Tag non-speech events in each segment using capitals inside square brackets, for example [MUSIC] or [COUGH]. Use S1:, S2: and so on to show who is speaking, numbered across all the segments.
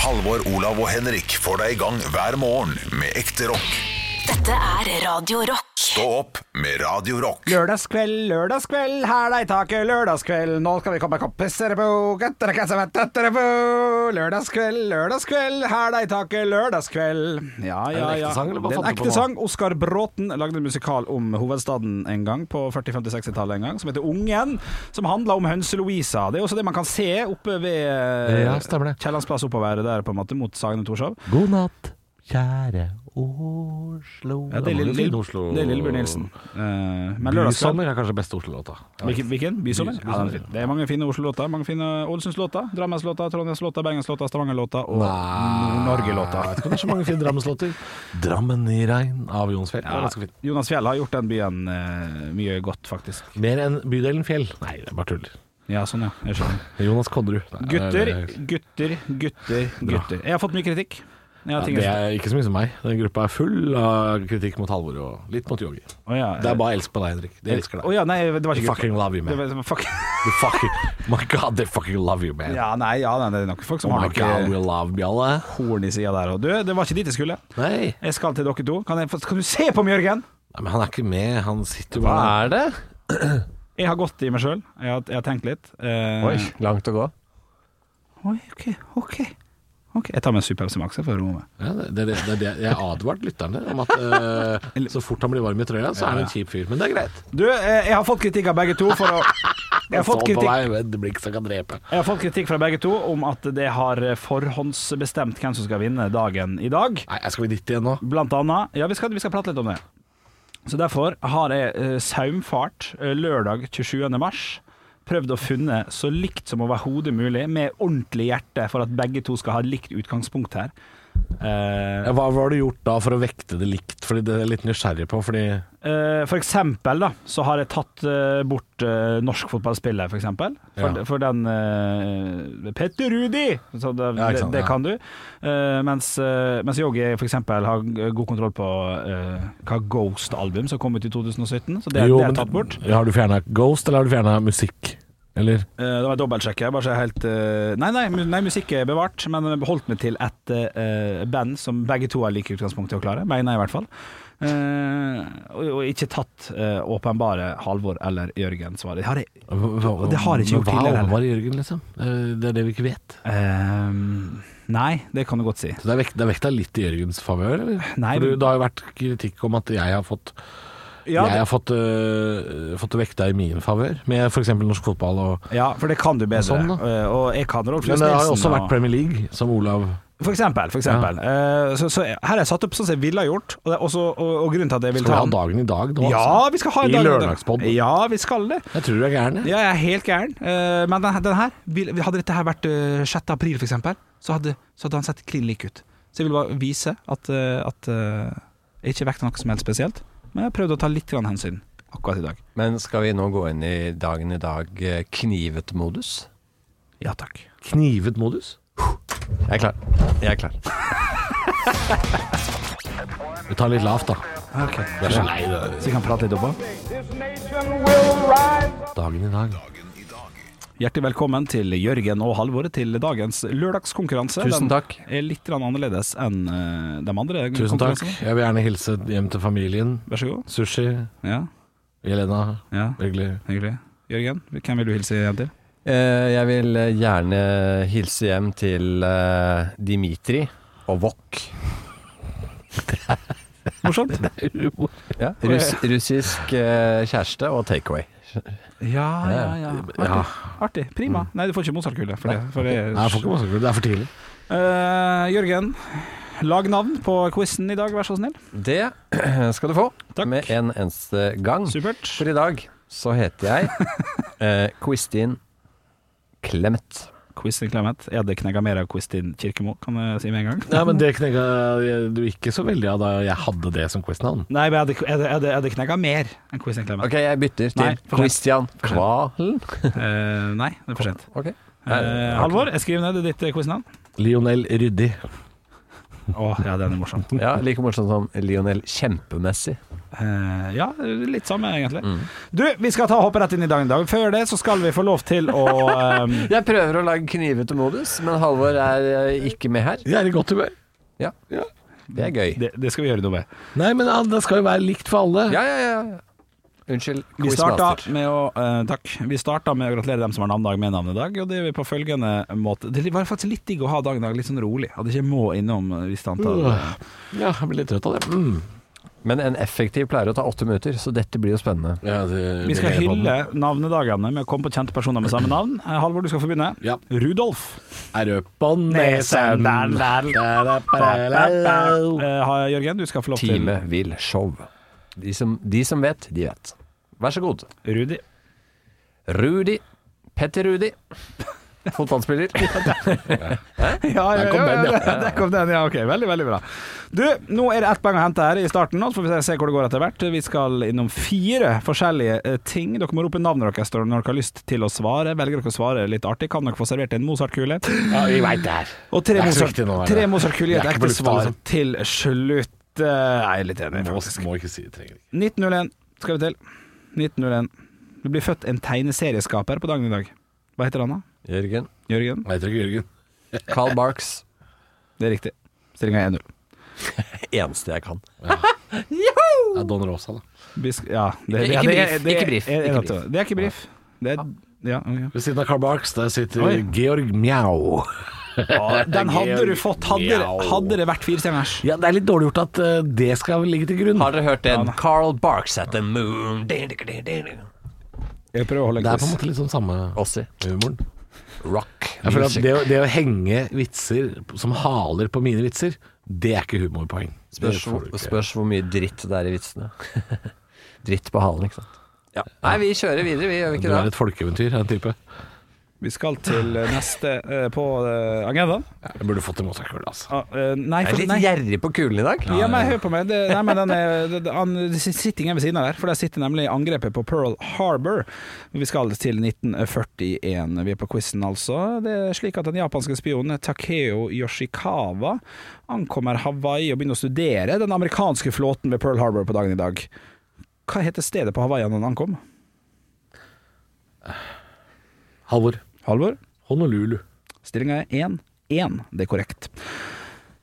S1: Halvor, Olav og Henrik får deg i gang hver morgen med ekte rock.
S2: Dette er Radio Rock.
S1: Stå opp med Radio Rock.
S3: Lørdagskveld, lørdagskveld, hæla i taket, lørdagskveld. Nå skal vi komme kompisere på, guttere kasse med tettere på. Lørdagskveld, lørdagskveld, hæla i taket, lørdagskveld. Ja, ja,
S4: Er det en ekte
S3: ja.
S4: sang, eller hva
S3: Det er en
S4: fant du på
S3: ekte
S4: nå?
S3: sang. Oskar Bråten lagde en musikal om hovedstaden en gang, på 40-, 50-, 60-tallet en gang, som heter Ungen, som handler om Hønse Louisa. Det er også det man kan se oppe ved
S4: Ja, stemmer det.
S3: Kiellandsplass oppover der, på en måte, mot Sagene Torshov.
S4: God natt, kjære Oslo
S3: Ja, det er Lille- det er Lillebjørn Nilsen. Eh, Men lørdagskveld
S4: Bysommer er kanskje beste Oslo-låta. Jeg vet
S3: Hvilken? hvilken? Bysommer?
S4: Bys-
S3: Ja, den er fin. Det er mange fine Oslo-låter. Mange fine Ålesundslåter, Drammenslåter, Trondheimslåter, Bergenslåter, Stavangerlåter og Nord-Norge-låter.
S4: ikke om det er så mange fine Drammenslåter. [LAUGHS] 'Drammen i regn' av Jons Fjell. Det er
S3: Ja,
S4: ganske fint.
S3: Jonas Fjell har gjort den byen eh, mye godt, faktisk.
S4: Mer enn bydelen Fjell. Nei, det er bare tull.
S3: Ja, sånn, ja. Jeg skjønner.
S4: Jonas Konnerud. Nei,
S3: Gutter,
S4: det er-
S3: gutter, gutter, gutter. Jeg har fått mye kritikk. Jeg har
S4: Ja,
S3: ting
S4: det er ikke så mye som meg. Den gruppa er full av kritikk mot Halvor og litt mot Yogi. Det
S3: Å, ja.
S4: er bare elsk på deg, Henrik. De elsker
S3: Å,
S4: deg.
S3: ja, nei, det var
S4: They
S3: ikke
S4: fucking love you,
S3: Det
S4: man.
S3: var, fuck.
S4: They fucking, [LAUGHS] my god, they fucking love you, man.
S3: Ja, nei, ja, nei, det er nok folk som
S4: Oh
S3: har
S4: my god, we
S3: noe
S4: love Bjalle.
S3: horn i sida der. Og du, det var ikke dit jeg skulle.
S4: Nei.
S3: Jeg skal til dere to. Kan, jeg, få- kan du se på meg, Jørgen?
S4: Nei, men han er ikke med. Han sitter jo bare
S5: Hva er det?
S3: [CLEARS THROAT] Jeg har gått i meg sjøl. Jeg, har- jeg har tenkt litt. Eh,
S5: Oi, langt å gå.
S3: Oi, ok, ok Ok, Jeg tar med en Super Pepsi Max jeg, for å roe meg.
S4: Ja, det, det, det, det, jeg advarte lytterne om at eh, så fort han blir varm i trøya, så er han en kjip fyr. Men det er greit.
S3: Du, eh, jeg har fått kritikk av begge to for
S5: [LAUGHS]
S3: å Jeg har fått
S4: Sånn på
S3: kritikk,
S4: vei med et blikk som kan drepe.
S3: jeg har fått kritikk fra begge to om at det har forhåndsbestemt hvem som skal vinne dagen i dag.
S4: Nei, skal vi dit igjen nå?
S3: Blant annet Ja, vi skal, vi skal prate litt om det. Så derfor har jeg eh, saumfart eh, lørdag 27. mars. Prøvd å funne så likt som overhodet mulig, med ordentlig hjerte, for at begge to skal ha likt utgangspunkt her. Eh,
S4: Ja, hva hva har du gjort da for å vekte det likt? Fordi det er jeg litt nysgjerrig på. Fordi
S3: Eh, For eksempel da, så har jeg tatt eh, bort eh, norsk fotballspiller, for eksempel. For,
S4: Ja.
S3: for den eh, Petter Rudi! Så det,
S4: Ja, ikke
S3: det,
S4: sant,
S3: det
S4: ja.
S3: kan du. Eh, mens, uh, mens Yogi for eksempel har g- god kontroll på eh, hva Ghost-album som kom ut i 2017. Så det,
S4: Jo,
S3: det er
S4: men-
S3: tatt bort.
S4: ja, Har du fjerna Ghost, eller har du fjerna musikk? Eller
S3: Eh, det var dobbeltsjekk. Jeg bare så jeg helt eh, Nei, nei, mu- nei, musikk er bevart, men jeg holdt meg til et eh, band som begge to har like utgangspunkt til å klare. Mener jeg, i hvert fall. Eh, og, og ikke tatt eh, åpenbare Halvor eller Jørgen svar. Det har jeg
S4: hva-
S3: det har jeg ikke gjort
S4: hva er
S3: tidligere,
S4: Alvar Jørgen, liksom? Eh, Det er det vi ikke vet.
S3: Ehm, nei, det kan du godt si.
S4: Så det er, vekt, det er vekta litt i Jørgens favør, eller?
S3: Nei, men-
S4: For du- det har jo vært kritikk om at jeg har fått
S3: Ja,
S4: jeg
S3: det,
S4: har fått, øh, fått vekta i min favør, med f.eks. norsk fotball. Og,
S3: ja, for det kan du bedre.
S4: Sånn, da.
S3: Eh, og jeg kan Rolf
S4: men det har jo også
S3: og-
S4: vært Premier League, som Olav
S3: For eksempel. For eksempel. Eh, så, så her har jeg satt opp sånn som jeg ville ha gjort, og, det, er også, og, og grunnen til at jeg vil
S4: Skal vi
S3: ta
S4: ha
S3: den
S4: dagen i dag nå?
S3: Ja, vi skal ha en
S4: I
S3: dag dag.
S4: lørdagspodden.
S3: Ja, vi skal det.
S4: altså? Jeg tror du er gæren. jeg.
S3: Ja, jeg er helt gæren. Eh, men den, den her vil- Hadde dette her vært eh, 6. april, for eksempel, så hadde, så hadde han sett klin lik ut. Så jeg vil bare vise at, eh, at eh, jeg ikke vekter noe som helst spesielt, men jeg prøvde å ta litt grann hensyn akkurat i dag.
S5: Men skal vi nå gå inn i dagen i dag eh, knivet modus?
S3: Ja takk.
S4: Knivet modus.
S5: Jeg er klar. Jeg er klar.
S4: Vi tar litt lavt, da.
S3: Ok,
S4: Jeg er så lei det.
S3: Så vi kan prate litt oppå.
S4: Dagen i dag.
S3: Hjertelig velkommen til Jørgen og Halvor til dagens lørdagskonkurranse.
S5: Tusen takk.
S3: Den er litt grann annerledes enn eh, de andre
S4: Tusen takk.
S3: konkurransene.
S4: Jeg vil gjerne hilse hjem til familien.
S3: Vær så god.
S4: Sushi.
S3: Ja,
S4: Jelena.
S3: ja,
S4: Hyggelig.
S3: hyggelig. Jørgen, hvem vil du hilse hjem til?
S5: Eh, Jeg vil eh, gjerne hilse hjem til eh, Dimitri og Wok.
S3: Morsomt?
S5: Ja, russ, russisk eh, kjæreste og takeaway.
S3: Ja, ja, ja.
S4: Ja.
S3: Artig. Artig. Prima. Nei, du får ikke Mozart-kule for det. For det
S4: Nei, jeg får ikke masse gull. Det er for tidlig.
S3: Eh, Jørgen, lag navn på quizen i dag, vær så snill.
S5: Det [CLEARS THROAT] skal du få
S3: Takk.
S5: med en eneste gang.
S3: Supert.
S5: For i dag så heter [LAUGHS] jeg eh, Kristin Clemet.
S3: Quiz til Clemet. Er det knegga mer av quiz til Kirkemo, kan jeg si med en gang?
S4: Nei, men det knekka du ikke så veldig av da jeg hadde det som quiznavn.
S3: Nei, men er det, er det, er det, er det knegga mer enn quiz til Clemet?
S5: Ok, jeg bytter
S3: Nei,
S5: til
S3: for sent.
S5: Christian Kvalen.
S3: Eh, nei, det er for sent.
S5: Ok.
S3: Eh, Halvor, jeg skriver ned ditt eh, quiznavn.
S4: Lionel Ryddig.
S3: Å, ja, den er morsom.
S5: Ja, Like morsomt som Lionel Kjempemessig.
S3: Eh, ja, litt samme, egentlig.
S5: Mm.
S3: Du, vi skal ta og hoppe rett inn i dagen i dag. Før det så skal vi få lov til å
S5: [LAUGHS]
S3: eh,
S5: Jeg prøver å lage knivete modus, men Halvor er eh, ikke med her.
S4: Jeg er i godt humør.
S5: Ja, Det er gøy.
S3: det, det skal vi gjøre noe med.
S4: Nei, men ja, det skal jo være likt for alle.
S5: Ja, ja, ja. Unnskyld.
S3: Vi starta
S5: Quizmaster.
S3: med å eh, Takk. Vi starta med å gratulere dem som har navnedag med navnedag, og det gjør vi på følgende måte. Det var faktisk litt digg å ha dagen i dag litt sånn rolig, at jeg ikke må innom eh, visst antall.
S4: Øh, Ja, jeg blir litt trøtt av det. Mm.
S5: Men en effektiv pleier å ta åtte minutter, så dette blir jo spennende.
S4: Ja, det-
S3: Vi skal
S4: det er på den.
S3: hylle navnedagene med å komme på kjente personer med samme navn. Eh, Halvor, du skal få begynne.
S4: Ja.
S3: Rudolf.
S4: Er du på nesen?
S3: Der, der.
S4: Da, da, ba, da, da.
S3: Eh, ha- Jørgen, du skal få lov til
S5: Time vil show. De som, de som vet, de vet. Vær så god.
S3: Rudi.
S5: Rudi. Petter Rudi. Fotballspiller.
S3: [LAUGHS] Ja, ja,
S4: Der kom
S3: ja,
S4: den,
S3: ja,
S4: ja.
S3: ja. [LAUGHS] Der kom den, ja. Ok, veldig, veldig bra. Du, nå er det ett poeng å hente her i starten, nå, så får vi se hvor det går etter hvert. Vi skal innom fire forskjellige eh, ting. Dere må rope navnet deres når dere har lyst til å svare. Velger dere å svare litt artig, kan dere få servert en Mozart-kule.
S4: Ja, vi veit det her.
S3: Og tre
S4: Det er så
S3: Mozart-
S4: viktig nå,
S3: tre
S4: det.
S3: Mozart-kuler i
S4: Det
S3: et
S4: er ikke på
S3: ekte
S4: lufta,
S3: svar
S4: liksom.
S3: til slutt. Eh, Jeg er litt enig,
S4: Må,
S3: faktisk.
S4: må ikke si det. Trenger ikke.
S3: 1901 skal vi til. 1901. Det blir født en tegneserieskaper på dagen i dag. Hva heter han da?
S5: Jørgen.
S3: Jørgen?
S4: Jeg tror ikke Jørgen.
S5: Carl Barks.
S3: Det er riktig. Stillinga er 1-0.
S5: Eneste jeg kan.
S4: Det er Don Rosa, da.
S3: Vi sk- Ja, det,
S5: Ikke- ikke
S3: det-
S5: brief,
S3: det-
S5: ikke
S3: det-
S5: brief,
S3: er- er
S5: ikke
S3: det- Det er ikke brief. Det er ja, ok.
S4: Ved siden av Carl Barks der sitter
S3: Oi.
S4: Georg Mjau.
S3: Den hadde du
S4: Georg
S3: fått hadde, det-
S4: Mjau.
S3: hadde det vært fire stjerners.
S4: Ja, det er litt dårlig gjort at eh, det skal ligge til grunn.
S5: Har dere hørt den? Carl Barks at the moon. Ossi.
S3: Jeg prøver å holde en
S4: Det er på en
S3: quiz.
S4: måte liksom samme humoren.
S5: Rock.
S4: Jeg føler at
S5: music.
S4: det, å- det å henge vitser som haler på mine vitser, det er ikke humorpoeng. Det
S5: Spørs,
S4: får du ikke.
S5: spørs hvor mye dritt det er i vitsene. [LAUGHS] dritt på halen, ikke sant. Ja. Nei, vi kjører videre, vi gjør vi
S4: Du
S5: ikke
S4: er
S5: det?
S4: et folkeeventyr av en type.
S3: Vi skal til eh, neste eh, på eh, agendaen.
S4: Jeg burde fått en Mozart-kule, altså.
S3: Ah, eh, Nei,
S5: Jeg er
S3: for,
S5: litt
S3: nei.
S5: gjerrig på kulen i dag.
S3: Ja, men hør på meg. Det, nei, men den er, det, det- han det sitter ingen ved siden av der, for der sitter nemlig angrepet på Pearl Harbor. Vi skal til 1941. Vi er på quizen, altså. Det er slik at den japanske spionen Takeo Yoshikawa ankommer Hawaii og begynner å studere den amerikanske flåten ved Pearl Harbor på dagen i dag. Hva heter stedet på Hawaii han ankom?
S4: Halvor.
S3: Halvor?
S4: Honolulu.
S3: Stillinga er 1-1. Det er korrekt.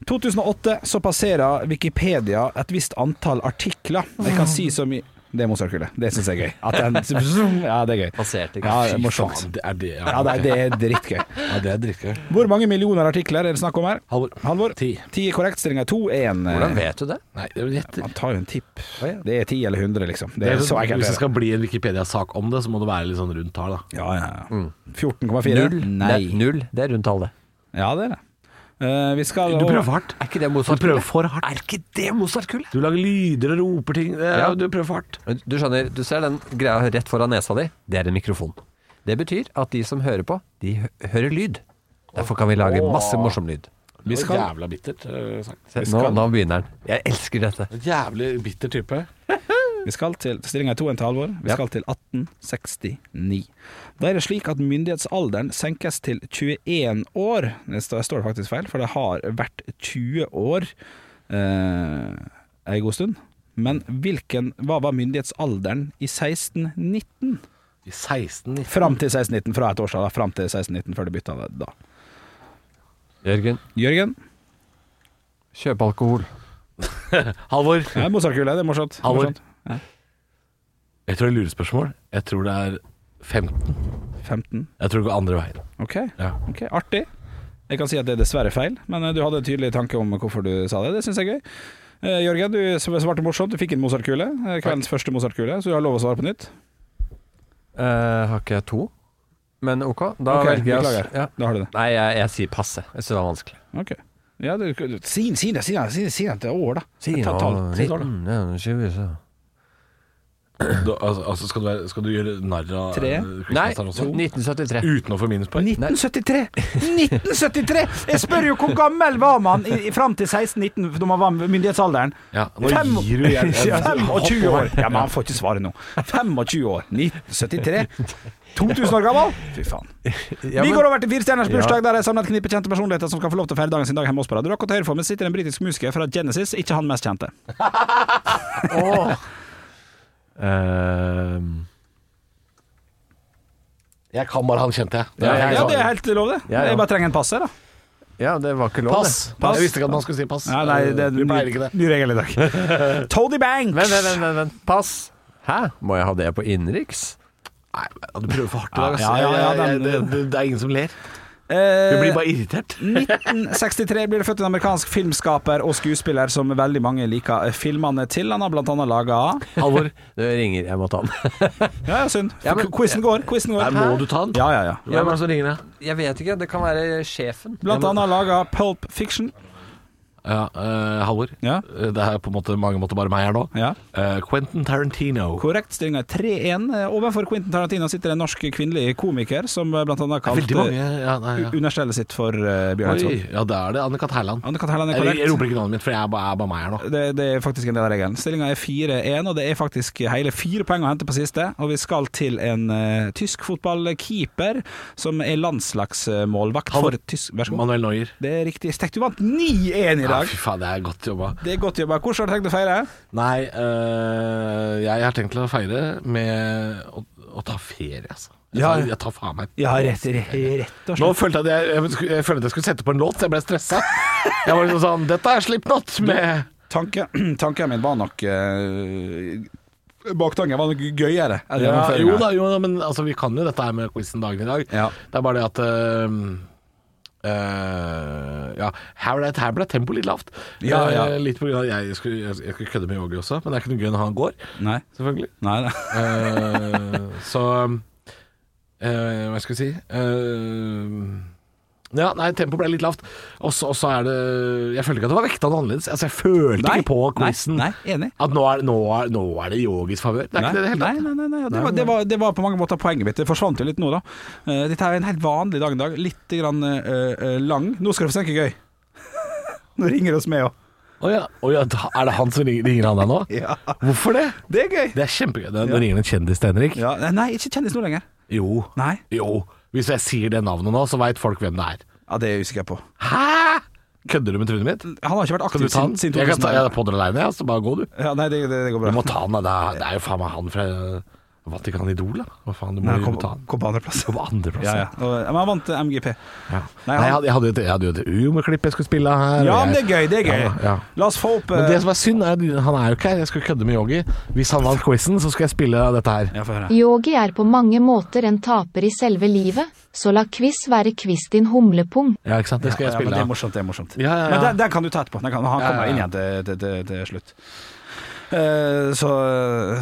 S3: 2008 så passerer Wikipedia et visst antall artikler. Jeg kan si så mye Det er Mozart-kullet. Det syns jeg er gøy. At den, ja, det er gøy.
S5: Passerte ikke.
S3: Ja, det er
S4: Fy
S3: morsomt.
S4: faen, Det er det, ja.
S3: Ja, det er, det er drittgøy.
S4: Ja, det er drittgøy.
S3: Hvor mange millioner artikler er det snakk om her?
S4: Halvor.
S3: Halvor?
S4: Ti.
S3: Ti er korrekt. Stillinga er 2-1.
S5: Hvordan vet du det?
S4: Nei, det er jo gjett.
S3: Man tar jo en tipp. Det er 10 eller 100, liksom. Det er så enkelt. er
S4: Hvis det
S3: det.
S4: skal bli en Wikipedia-sak om det, så må det være litt sånn rundt tall, da.
S3: Ja, ja, ja. 14,4?
S5: Null. Det er
S3: Nei.
S5: null, det er rundt tallet.
S3: Ja, det er det. Eh, vi skal
S4: Du prøver hardt.
S5: Er ikke det
S4: Du prøver
S5: Mozart-kullet?
S4: for hardt.
S5: Er ikke det Mozart-kullet?
S4: Du lager lyder og roper ting. Det er-
S5: Ja.
S4: Du prøver for hardt.
S5: Du skjønner, du ser den greia rett foran nesa di. Det er en mikrofon. Det betyr at de som hører på, de hø- hører lyd. Derfor kan vi lage masse morsom lyd.
S3: Vi
S4: Det var
S3: skal-
S4: Jævla bittert eh, sagt.
S5: Se,
S3: Vi
S5: Nå,
S3: skal-
S5: nå begynner den. Jeg elsker dette.
S4: Jævlig bitter type.
S3: Vi skal til stillinga er 2-1 til Halvor. Vi
S5: Ja.
S3: skal til 1869. Da er det slik at myndighetsalderen senkes til 21 år. Det står, står faktisk feil, for det har vært 20 år eh, ei god stund. Men hvilken, hva var myndighetsalderen i 1619?
S4: I 16
S3: Fram til 1619, fra et årstall. da. Fram til 1619, før de bytta det da.
S5: Jørgen,
S3: Jørgen?
S5: kjøp alkohol.
S4: Halvor.
S3: Ja, Mozart-kule, det er morsomt.
S4: Halvor.
S3: morsomt.
S4: Jeg tror det er lurespørsmål. Jeg tror det er 15.
S3: 15.
S4: Jeg tror det går andre veien.
S3: Ok,
S4: Ja.
S3: ok, artig. Jeg kan si at det er dessverre feil, men eh, du hadde en tydelig tanke om hvorfor du sa det. Det syns jeg er gøy. Eh, Jørgen, du sv- svarte morsomt. Du fikk en Mozart-kule. eh, Kveldens første Mozart-kule, så du har lov å svare på nytt.
S5: Eh, har ikke jeg to? Men ok, da
S3: Ok,
S5: velger jeg
S3: Beklager.
S5: Ja.
S3: Da har du det.
S5: Nei, jeg, jeg sier passe. Jeg syns det var vanskelig.
S3: Ok. Ja, du, du- si si det, si det, si det, si det til år, da.
S5: Si
S3: Ta-
S5: nå
S3: ta- si et år, da.
S5: 19, ja, 20, så
S4: Da, altså, altså, skal, du være, skal du gjøre narr av
S3: Tre?
S4: eh,
S5: Nei,
S4: Kristiansand også?
S5: 1973.
S4: Uten å få minuspoeng?
S3: 1973! 1973! Jeg spør jo hvor gammel var man i, i fram til 16-19, da man var myndighetsalderen.
S4: Ja, nå
S3: Fem-
S4: gir du jeg-
S3: Ja, 25
S4: Hopp over.
S3: år. Ja, men han får ikke svare nå. 25 år. 1973. 2000 år gammel? Fy faen.
S5: Ja,
S3: Vi
S5: men-
S3: går over til firestjerners bursdag, der jeg samler et knippe kjente personligheter som kan få lov til å feire dagen sin dag hjemme hos hverandre. Og til høyre for meg sitter en britisk musiker fra Genesis, ikke han mest kjente.
S4: Ehm. Jeg kan bare han kjente, jeg. Det
S5: Ja,
S4: er sånn. helt
S3: Ja,
S4: sant.
S3: det er helt lov, det.
S5: Ja, ja.
S3: Jeg bare trenger en pass her, da.
S5: Ja, det var ikke lov,
S4: Pass.
S5: det.
S3: Pass.
S4: Jeg visste ikke at man skulle si pass.
S3: Nei, nei, det er
S4: Vi
S3: en
S4: pleier ikke
S3: ny,
S4: det.
S3: ny regel i dag.
S4: [LAUGHS]
S3: Tony Banks!
S5: Vent, vent, vent, vent, vent. Pass. Hæ? Må jeg ha det på innenriks?
S4: Nei, Du prøver for hardt i dag. ass.
S3: Ja, ja, ja,
S4: Jeg-
S3: den-
S4: jeg- det, det, det er ingen som ler.
S3: Eh,
S4: Du blir bare irritert.
S3: 1963 blir det født en amerikansk filmskaper og skuespiller som veldig mange liker filmene til. Han har blant annet laga
S5: Alvor, [LAUGHS] det ringer. Jeg må ta den.
S3: Ja, ja, synd.
S5: Ja, men-
S3: Quizen går. Quizen går.
S4: Nei, må du ta den?
S3: Ja, ja, ja.
S4: Hvem er det som ringer deg?
S5: [LAUGHS] Jeg vet ikke. Det kan være sjefen.
S3: Blant
S5: Jeg må-
S3: annet laga Pulp Fiction.
S4: Ja, eh, Halvor.
S3: Ja.
S4: Eh, Det er på en måte, mange måter bare meg her nå.
S3: Ja.
S4: Eh, Quentin Tarantino.
S3: Korrekt. Stillinga er 3-1. Eh, Overfor Quentin Tarantino sitter en norsk kvinnelig komiker som eh, blant annet
S4: Veldig
S3: kalte
S4: mange. Ja, nei, ja.
S3: u- understellet sitt for uh, Bjørn
S4: Oi,
S3: Eidsvoll.
S4: ja, det er det. Anne-Kat. Hærland.
S3: Anne-Kat. Hærland er
S4: Jeg, jeg
S3: korrekt.
S4: roper ikke navnet mitt, for jeg er bare, jeg er bare meg her nå.
S3: Det, det er faktisk en del av regelen. Stillinga er 4-1, og det er faktisk hele fire poeng å hente på siste. Og vi skal til en eh, tysk fotballkeeper som er landslagsmålvakt
S4: Han-
S3: for tysk Vær så god.
S4: Manuel Neuer.
S3: Det er riktig. Stek, du vant 9-1 i
S4: Ja,
S3: dag.
S4: fy faen, det er godt jobba.
S3: Det er godt jobba. Hvordan har du tenkt å feire?
S4: Nei, øh, jeg har tenkt til å feire med å, å ta ferie, altså. Jeg,
S3: Ja.
S4: tar, jeg tar faen meg
S3: Ja, rett, rett, rett og
S4: Nå følte jeg, at jeg, jeg, skulle- jeg følte at jeg skulle sette på en låt, så jeg ble stressa. Jeg var liksom sånn Dette er Slipknot med
S3: Tanke, [CLEARS THROAT] tanken min var nok eh, Baktanken var nok gøyere. enn
S4: ja,
S3: gjennomføringen.
S4: Jo da, jo da, men altså, vi kan jo dette her med quizen dagen i dag.
S3: Ja.
S4: Det er bare det at øh, øh, ja, her ble, her ble tempoet litt lavt.
S3: Ja, ja.
S4: Eh, litt på grunn av jeg skulle, jeg, jeg skulle kødde med Yogi også, men det er ikke noe gøy når han går,
S3: Nei,
S4: selvfølgelig.
S3: nei, nei.
S4: Eh, så eh, Hva skal jeg si Eh, Ja, nei, tempoet ble litt lavt. Og så og så er det Jeg følte ikke at det var vekta noe annerledes. Altså, jeg følte
S3: Nei,
S4: ikke på
S3: nei,
S4: quizen
S3: nei, enig.
S4: at nå er, nå er, nå er det yogis favør. Det er
S3: Nei,
S4: ikke det i det hele
S3: nei,
S4: tatt.
S3: nei, nei, nei. Det, var, det, var, det var på mange måter poenget mitt. Det forsvant jo litt nå, da. Eh, dette er en helt vanlig dag i dag. Litt grann, eh, eh, lang. Nå skal du få se noe gøy. [LAUGHS] Nå ringer det oss med òg.
S4: Å ja. å ja, da er det han som ringer, ringer han deg nå?
S3: [LAUGHS] Ja.
S4: Hvorfor det?
S3: Det er gøy.
S4: Det er kjempegøy. Nå nå ringer det en kjendis til Henrik.
S3: Ja, nei, ikke kjendis nå lenger.
S4: Jo.
S3: Nei.
S4: Jo. Hvis jeg sier det navnet nå, så veit folk hvem det er.
S3: Ja, Det er jeg usikker på.
S4: Hæ? Kødder du med trynet mitt?
S3: Han har ikke vært
S4: Kan du
S3: aktiv
S4: ta
S3: siden,
S4: den?
S3: siden
S4: Jeg kan ta
S3: 2000.
S4: jeg er på det aleine, så bare gå, du.
S3: Ja, nei, det, det, det går
S4: Du
S3: bra.
S4: må ta han, da. Det er, det er jo faen meg han fra Vatikan Idol, da. Hva faen, du må
S3: Nei,
S4: jo
S3: kom,
S4: ta han.
S3: kom på andreplass.
S4: På andreplass,
S3: Ja, ja. Og, men han vant eh, MGP. Nei,
S4: ja. Nei,
S3: han-
S4: jeg, hadde, jeg, hadde jo et, jeg hadde jo et humorklipp jeg skulle spille her.
S3: Ja,
S4: og
S3: men det
S4: jeg-
S3: er gøy. det er gøy
S4: Ja, ja.
S3: La oss få opp
S4: Men det
S3: eh,
S4: som er synd, er at han er jo ikke her. Jeg skulle kødde med Yogi. Hvis han vant quizen, så skal jeg spille dette her.
S3: Ja, få høre.
S6: Yogi er på mange måter en taper i selve livet, så la quiz være quiz din humlepung.
S4: Ja, ikke sant? Det skal jeg
S3: Ja, men
S4: spille.
S3: det
S4: Ja,
S3: er morsomt. det er morsomt
S4: Ja, ja, ja.
S3: Men den, den kan du ta etterpå. Den kan, han
S4: Ja, ja,
S3: kommer
S4: ja.
S3: inn igjen til, til, til, til slutt. Eh, så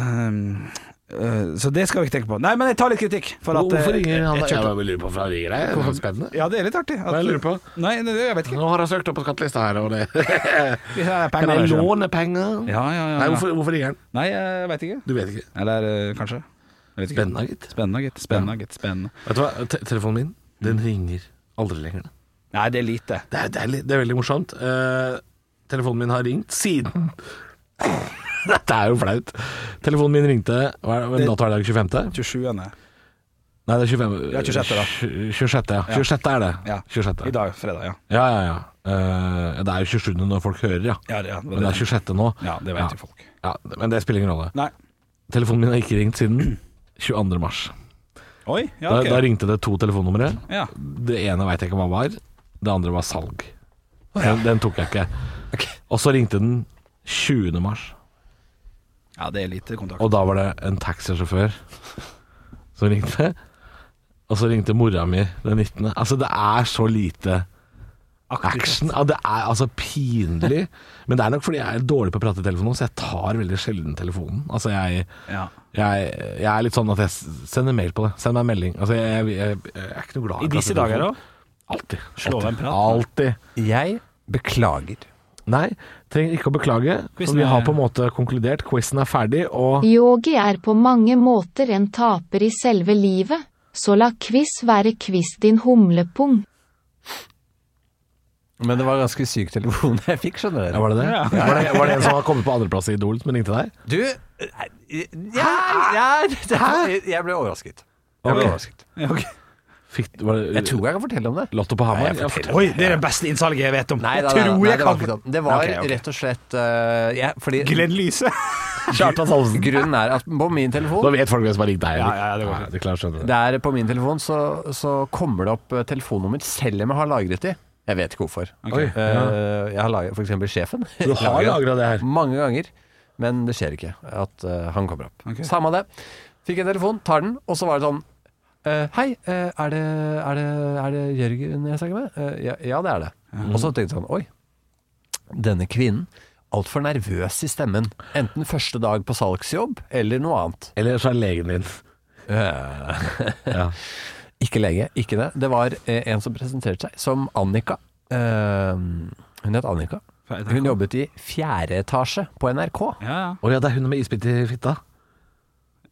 S3: eh, eh, Så det skal vi ikke tenke på. Nei, men jeg tar litt kritikk. For at, eh,
S4: Hvorfor ringer han?
S3: jeg
S4: Jeg,
S3: kjørte-
S4: bare lurer på hvorfor han ringer deg. Det er Spennende.
S3: Ja, det er litt artig. at-
S4: Hva jeg lurer på?
S3: Nei, det, jeg vet ikke.
S4: Nå har han søkt opp på skattelista her, og det [LAUGHS]
S3: Hvis det er
S4: Kan
S3: penger,
S4: jeg
S3: det er ikke.
S4: låne penger?
S3: Ja, ja, ja,
S4: Nei,
S3: ja.
S4: hvorfor, hvorfor ringer han?
S3: Nei, jeg vet ikke.
S4: Du vet ikke.
S3: Eller eh, kanskje. Jeg vet ikke.
S4: Spennende, gitt.
S3: Spennende, gitt. Spennende, gitt. Spennende.
S4: Vet du hva, Te- telefonen min, den ringer aldri lenger. da.
S3: Nei, det er lite.
S4: Det er, det er, litt- det er veldig morsomt. Eh, telefonen min har ringt siden [LAUGHS] Dette er jo flaut. Telefonen min ringte Hva er det- hvilken dato er det? i dag? 25.?
S3: 27.
S4: Nei, det er 25.
S3: Ja, 26 da.
S4: Tj- 26, ja. 26 er det.
S3: Ja.
S4: 26.
S3: I dag, fredag. Ja.
S4: Ja, ja, ja. Eh, det er jo 27. når folk hører, ja.
S3: Ja, det, ja,
S4: Men det er 26 nå.
S3: ja, det vet jo folk.
S4: Ja, men det spiller ingen rolle.
S3: Nei.
S4: Telefonen min har ikke ringt siden 22. mars.
S3: Oi, ja, ok.
S4: da, da ringte det to telefonnumre.
S3: ja.
S4: Det ene veit jeg ikke hva var. Det andre var salg. Den, den tok jeg ikke. Og så ringte den 20. mars,
S3: ja, det er lite kontakt.
S4: og da var det en taxisjåfør som ringte. Og så ringte mora mi den 19. Altså, det er så lite action. Ja, det er altså pinlig. Men det er nok fordi jeg er dårlig på å prate i telefonen, så jeg tar veldig sjelden telefonen. Altså, jeg
S3: Ja.
S4: jeg, jeg er litt sånn at jeg s- sender mail på det. Send meg en melding. Altså, jeg, jeg, jeg, er ikke noe glad
S3: I disse dager òg?
S4: Alltid.
S3: Slå av en prat.
S4: Alltid.
S5: Jeg beklager.
S4: Nei, trenger ikke å beklage, for
S3: Quizen
S4: vi har
S3: er-
S4: på en måte konkludert. Quizen er ferdig, og
S6: Yogi er på mange måter en taper i selve livet, så la quiz være quiz din humlepung.
S5: Men det var ganske syk telefon jeg fikk, skjønner
S4: ja,
S5: dere.
S4: var det det?
S3: Ja.
S4: Var, det, var det en sånn- som har kommet på andreplass i Idol som ringte deg?
S5: Du Ja, ja det, jeg ble overrasket. Jeg ble
S4: Ok.
S5: overrasket.
S3: Ja, ok.
S4: Fikk, var det
S5: Jeg tror jeg kan fortelle om det.
S4: Lotto på Hamar?
S5: Nei, jeg
S4: Ja,
S5: forteller.
S3: Oi, det er det beste innsalget jeg vet om.
S5: Nei, nei,
S3: jeg
S5: nei,
S3: tror
S5: nei,
S3: jeg
S5: det var ikke
S3: kan
S5: sånn. Det var
S3: Ok, ok.
S5: rett og slett eh, jeg- fordi
S3: Glenn Lyse.
S4: Kjartan Salvesen.
S5: Grunnen er at på min telefon
S4: Nå vet folk hvem som har ringt deg.
S3: Ja, ja, det går fint.
S4: det er klart, skjønner du.
S5: der på min telefon så, så kommer det opp eh, telefonnummer selv om jeg har lagret de. Jeg vet ikke hvorfor.
S4: Oi,
S5: Eh, Jeg har lagret f.eks. sjefen.
S4: Du har
S5: Lagret
S4: lagra det her.
S5: mange ganger, men det skjer ikke at eh, han kommer opp.
S3: Ok.
S5: Samme det. Fikk en telefon, tar den, og så var det sånn eh, Hei, eh, er, det, er, det, er det Jørgen jeg snakker med? Eh, ja, ja, det er det. Og så tenkte jeg sånn Oi, denne kvinnen. Altfor nervøs i stemmen. Enten første dag på salgsjobb eller noe annet.
S4: Eller så er det legen din.
S5: [LAUGHS]
S4: Ja.
S5: Ikke lenge, ikke det. Det var eh, en som presenterte seg som Annika. Eh, hun het Annika. Hun jobbet i fjerde etasje på NRK.
S3: Ja, ja.
S4: Å ja, det er hun med isbit i fitta.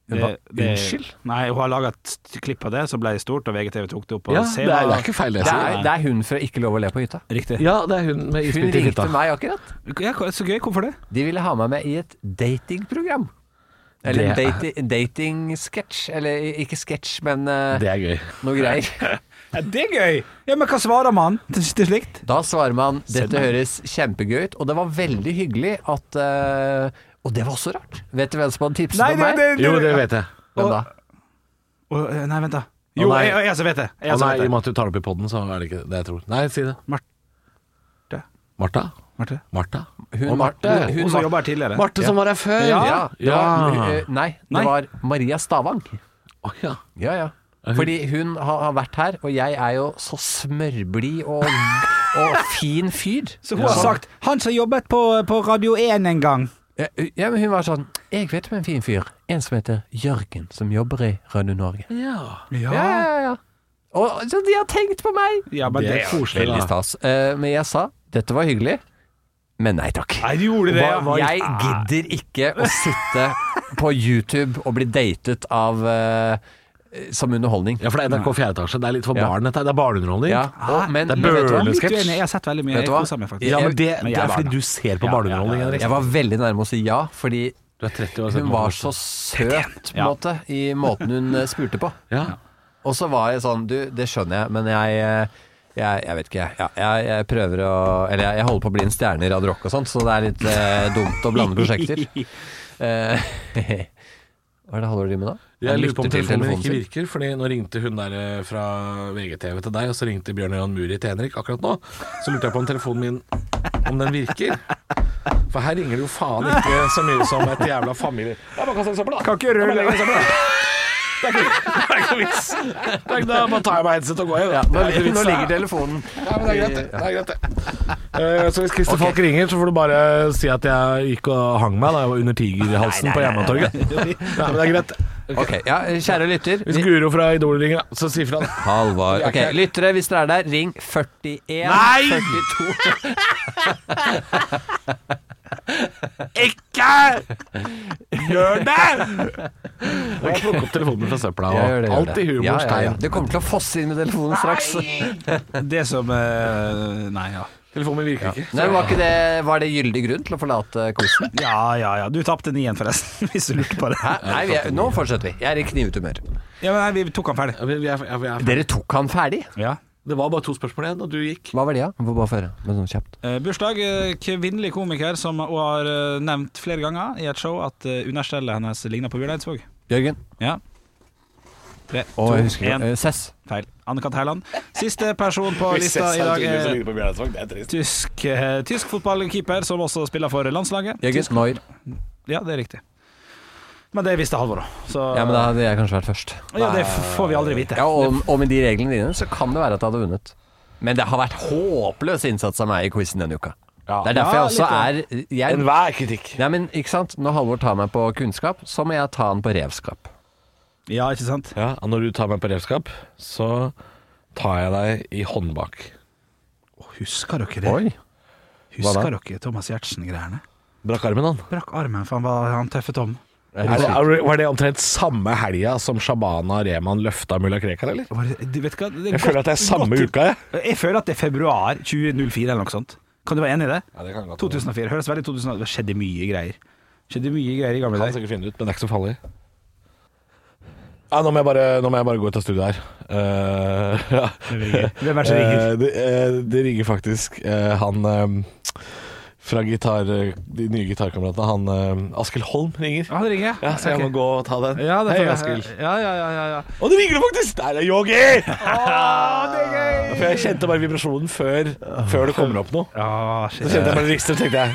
S5: Hva? Unnskyld?
S3: Nei, hun har laga et klipp av det som ble stort, og VGTV tok det opp. Og
S4: Ja,
S3: se
S4: det er, det
S3: hva-
S4: er ikke feil, det.
S5: Det
S4: sier
S5: er, det er hun fra Ikke lov å le på hytta.
S3: Riktig.
S4: jeg. Ja, det er hun med
S5: Hun
S4: isbit i
S5: ringte
S4: fitta.
S5: meg akkurat.
S3: Ja, så gøy. Hvorfor det?
S5: De ville ha meg med i et datingprogram. Eller en
S4: Det er-
S5: dati datingsketsj. Eller ikke sketsj, men eh,
S4: Det er gøy.
S5: noe [LAUGHS] greier.
S3: Ja, det er gøy! Ja, Men hva svarer man til, til slikt?
S5: Da svarer man 'dette høres kjempegøy ut', og det var veldig hyggelig at eh, Og det var også rart. Vet du hvem som hadde tipset
S3: Nei,
S5: om
S3: det,
S5: meg?
S3: det, det,
S4: Jo, det vet jeg.
S5: Hvem da?
S3: Å, eh, nei, vent, da. Jo,
S4: nei.
S3: jeg, jeg, som vet det.
S4: Å
S3: Jeg som
S4: nei, i og
S3: vet det.
S4: med at du tar det opp i poden, så er det ikke det jeg tror. Nei, si det.
S3: Marte.
S4: Martha?
S3: Marte.
S4: Martha?
S5: Hun
S4: Å,
S5: Marte.
S4: Marte.
S5: Hun
S3: Hun som jobba her tidligere.
S4: Marte som var her før!
S5: Ja, det var,
S4: Ja.
S5: eh, nei,
S3: Nei.
S5: det var Maria Stavang.
S4: Å, ja.
S5: Ja, ja. Fordi hun har har vært her, og jeg er jo så smørblid og, og fin fyr.
S3: Så hun har sagt 'han som jobbet på, på Radio 1 en gang'.
S5: Ja, ja, men hun var sånn Jeg vet om en fin fyr. En som heter Jørgen, som jobber i Rønne Norge.
S4: ja.
S5: Ja, ja, ja. Og, så de har tenkt på meg!
S3: Ja, men
S4: Det
S3: det,
S4: er koselig,
S5: Veldig
S4: da.
S5: stas. Eh, men jeg sa dette var hyggelig, men nei takk.
S3: Nei, du gjorde det, Ah.
S5: Hva-
S3: ja. Hva-
S5: jeg gidder ikke å sitte på YouTube og bli datet av eh, som underholdning.
S4: Ja, for det er NRK 4 etasje. Det er litt for
S5: Ja.
S4: barn, dette. her. Det er barneunderholdning.
S5: Ja, og, men,
S4: det er
S5: men vet du hva?
S3: Jeg er litt
S4: Sketsj.
S3: uenig. Jeg har sett veldig mye.
S5: Vet
S3: Jeg
S5: du hva?
S3: koser meg faktisk.
S4: Ja,
S5: Jeg-
S4: men det,
S3: Men
S4: det
S3: jeg
S4: er
S3: er
S4: fordi
S3: barn,
S4: du ser på liksom.
S3: Ja, ja,
S4: barneunderholdning,
S3: ja, ja.
S4: Henrik.
S5: Jeg var veldig nærme å si ja, fordi
S4: Du er 30 år
S5: hun var så søt på en
S3: Ja.
S5: måte, i måten hun eh, spurte på.
S4: ja.
S5: Og så var jeg sånn Du, det skjønner jeg, men jeg eh, jeg, jeg vet ikke, jeg. ja, jeg. Jeg prøver å Eller jeg, jeg holder på å bli en stjerne i Radio Rock og sånt, så det er litt eh, dumt å blande
S4: [LAUGHS]
S5: prosjekter. Eh, [LAUGHS] hva er det holder du med da?
S4: Jeg
S5: Han
S4: lurer på om
S5: lytter til
S4: telefonen
S5: telefonen
S4: ikke
S5: sin.
S4: virker, Fordi nå ringte hun der eh, fra VGTV til deg, og så ringte Bjørn Jan Muri til Henrik akkurat nå. Så lurte jeg på om telefonen min Om den virker. For her ringer det jo faen ikke så mye som et jævla familie... Ja, bare kast et søppel, da.
S3: Kan ikke røre
S4: Ja,
S3: lenger.
S4: bare kast et søppel, da. Det er ikke- det er ikke noe vits. Det er ikke- Da bare tar jeg meg headset og går hjem.
S5: Ja, nå,
S4: Det er ikke
S5: nå
S4: vits,
S5: ligger
S4: da.
S5: telefonen
S4: Ja, men det er greit, det. det, er greit, det. Eh, så hvis Christer Falk ringer, så får du bare si at jeg gikk og hang meg da jeg var under tigerhalsen på Jernbanetorget. Ja, men det er greit.
S5: Ok, ja, kjære lytter.
S4: Hvis Guro fra Idol ringer, da, så si fra.
S5: Halvard
S4: Vi er
S5: Ok,
S4: ikke-
S5: lyttere, hvis dere er der, ring 41
S4: Nei! [LAUGHS]
S5: 42
S4: Ikke gjør det! Og [LAUGHS] jeg plukker opp telefonen fra søpla.
S5: Ja, gjør det,
S4: Og
S5: gjør
S4: alt i
S5: det.
S4: humorens
S5: Ja, ja, ja.
S4: tegn.
S5: Det kommer til å fosse inn med telefonen straks.
S3: Det som eh, Nei, ja.
S4: Telefonen min virker ikke.
S5: Nei, var, ikke det, var det gyldig grunn til å forlate quizen?
S3: Ja, ja, ja. Du tapte nien, forresten, [LAUGHS] hvis du lurte på det.
S5: Hæ? Nei, vi er, nå fortsetter vi. Jeg er i knivete humør.
S3: Ja, men nei, Vi tok han ferdig.
S4: Ja, vi- vi er- ja, vi er-
S5: Dere tok han ferdig?
S3: Ja.
S4: Det var bare to spørsmål igjen, og du gikk.
S5: Hva var det, da? Ja? Bare føre, men sånn kjapt.
S3: Eh, bursdag. eh, Kvinnelig komiker som hun har eh, nevnt flere ganger i et show at eh, understellet hennes ligner på Bjørn Eidsvåg.
S5: Jørgen.
S3: Ja. Tre,
S5: Og jeg
S3: to,
S5: husker
S3: én.
S5: ikke. eh, Sess.
S3: Feil. Anne-Kat. Hærland. Siste person på lista i dag er tysk, eh, tysk fotballkeeper som også spiller for landslaget.
S5: Jørgen.
S3: Tysk,
S5: Noir.
S3: ja, det er riktig. Men det visste Halvor òg, så
S5: Ja, men da hadde jeg kanskje vært først.
S3: Ja, det f- får vi aldri vite.
S5: Ja, og, og med de reglene dine, så kan det være at jeg hadde vunnet. Men det har vært håpløs innsats av meg i quizen denne uka. Det er derfor jeg også er jeg,
S4: Enhver kritikk.
S5: Nei, men ikke sant? Når Halvor tar meg på kunnskap, så må jeg ta han på revskap.
S3: Ja, ikke sant?
S4: Ja, og når du tar meg på redskap, så tar jeg deg i håndbak.
S3: Husker dere det? Husker dere Thomas Giertsen-greiene?
S4: Brakk armen, han.
S3: Brakk armen, for han var han tøffe Tom.
S4: Er det, er, var det omtrent samme helga som Shabana Rehman løfta mulla Krekar, eller?
S3: Var det- du vet hva, det
S4: Jeg føler at det er samme
S3: godt-
S4: uka, jeg.
S3: Jeg føler at det er februar 2004 eller noe sånt. Kan du være enig i det?
S4: Ja, det kan godt være.
S3: 2004. Høres veldig 2000 Det skjedde mye greier. Skjedde mye greier i gamle
S4: Kan
S3: dager.
S4: sikkert finne ut, men det er ikke så farlig. Ja, nå, må jeg bare, nå må jeg bare gå ut av studio her. Eh, [LAUGHS] ja.
S3: Hvem er det som ringer?
S4: Eh, det, eh, det ringer faktisk eh, han eh, fra gitar, de nye gitarkameratene. Han eh, Askild Holm ringer.
S3: Ja, han ringer,
S4: Ja, så jeg
S3: Ah, Ok.
S4: må gå og ta den.
S3: Ja, det
S4: Hei,
S3: får jeg.
S4: Askild.
S3: Ja, ja, ja, ja, ja.
S4: Og det ringer det faktisk! Der er Yogi! Ah, For jeg kjente bare vibrasjonen før, før det kommer opp noe.
S3: Ja, Ah, shit.
S4: Så kjente jeg bare rister, tenkte jeg.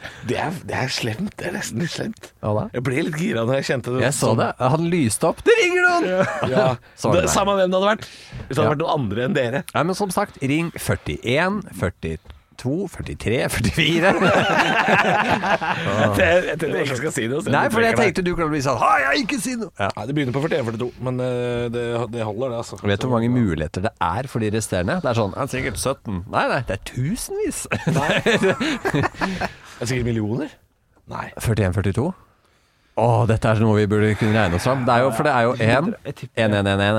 S4: [LAUGHS] Det er, det er slemt. Det er nesten litt slemt.
S5: Ja da.
S4: Jeg ble litt gira når jeg kjente det. Sånn.
S5: Jeg så det. Han lyste opp. Det ringer noen! [LAUGHS]
S4: Ja.
S5: Så var
S4: Det,
S5: det der.
S4: samme hvem det hadde vært. Hvis det hadde
S5: Ja.
S4: vært noen andre enn dere.
S5: Nei, men som sagt, ring 41, 42, 43, 44
S4: Det, jeg tenkte jeg ikke skal si det. så jeg
S5: Nei, for jeg
S4: trekker meg.
S5: tenkte du kunne bli sånn Har jeg ikke si noe? Ja.
S4: Nei, Det begynner på 41-42, men eh, det, det holder, det. altså
S5: Vet du hvor mange muligheter det er for de resterende? Det er sånn, ja, sikkert 17 Nei, nei, det er
S3: [LAUGHS]
S5: tusenvis
S4: Det er Sikkert millioner? Nei.
S5: 41, 42 Åh, dette er noe vi burde kunne regne oss fram Det er jo, for det er jo 1
S3: Jeg tipper-
S5: 1, 1, 1, 1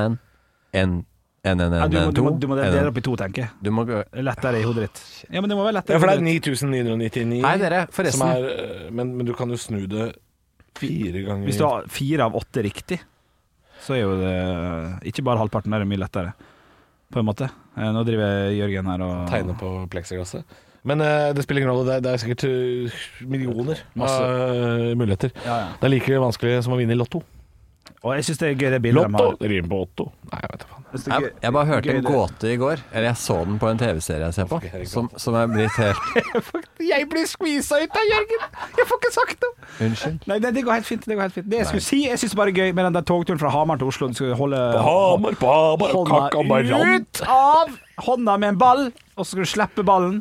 S5: 1, 1, 1, 1, 1,
S3: Ja,
S5: 2
S3: du, må, du, må, du må dele
S5: 1,
S3: det opp i to, tenker jeg.
S5: Du må gå-
S3: Det er Lettere i hodet ditt. Ja, men det må være
S4: Ja,
S3: lettere.
S4: for det er
S3: i hodet ditt.
S4: 9999
S5: Nei, dere, forresten.
S4: som er, eh, men, men du kan jo snu det fire ganger
S3: Hvis du har fire av åtte riktig, så er jo det eh, ikke bare halvparten, det er mye lettere. På en måte. Eh, Nå driver Jørgen her og
S4: tegne på pleksiglasset. Men eh, det spiller ingen rolle, det er, det er sikkert eh, millioner
S3: Masse.
S4: av eh, muligheter.
S3: Ja, ja.
S4: Det er like vanskelig som å vinne i Lotto.
S3: Og jeg syns det er gøy, det bildet de har.
S4: Det rimer på Otto. Nei, jeg vet da faen.
S3: Jeg synes det er
S5: jeg,
S3: gøy-
S5: jeg bare hørte
S3: gøy
S5: en
S3: det-
S5: gåte i går Eller jeg så den på en tv-serie jeg ser på Som, som er blitt helt
S4: Jeg blir skvisa ut av Jørgen! Jeg får ikke sagt noe!
S5: Unnskyld
S3: Nei, det, det går helt fint. Det går helt fint. Det jeg skulle si, jeg syns bare er gøy med den der togturen fra Hamar til Oslo. Du skulle holde
S4: Hamar, Hamar,
S3: hånda
S4: kakamarant.
S3: ut av hånda med en ball, og så skal du slippe ballen.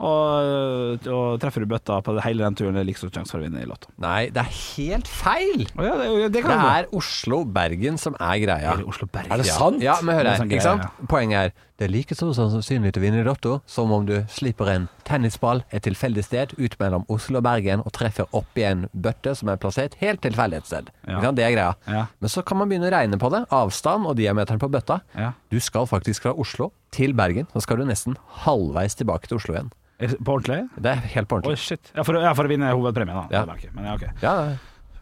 S3: Og, og treffer du bøtta på hele den turen, det er like stor sjanse for å vinne i Lotto.
S5: Nei, det er helt feil
S3: Å ja, det, det
S5: Det
S3: kan
S5: er Oslo-Bergen som er greia.
S3: du. Oslo-Bergen.
S4: Er det sant?
S5: Ja, men hør
S3: Det er
S5: her.
S3: sånn
S5: Ikke
S3: greie,
S5: sant? Poenget er det er like stor sannsynlighet til å vinne i Lotto som om du slipper en tennisball et tilfeldig sted ut mellom Oslo og Bergen og treffer opp i en bøtte som er plassert helt tilfeldig et sted.
S3: Ja.
S5: Ikke sant? Det er greia.
S3: Ja.
S5: Men så kan man begynne å regne på det. Avstand og diameteren på bøtta.
S3: Ja.
S5: Du skal faktisk fra Oslo til Bergen. Så skal du nesten halvveis tilbake til Oslo igjen.
S3: Er det På ordentlig?
S5: Det er helt på
S3: Oi,
S5: ordentlig.
S3: shit. Ja for, ja, for å vinne hovedpremien, da.
S5: Ja.
S3: Det er ikke- Men ja, ok.
S5: Ja, ja.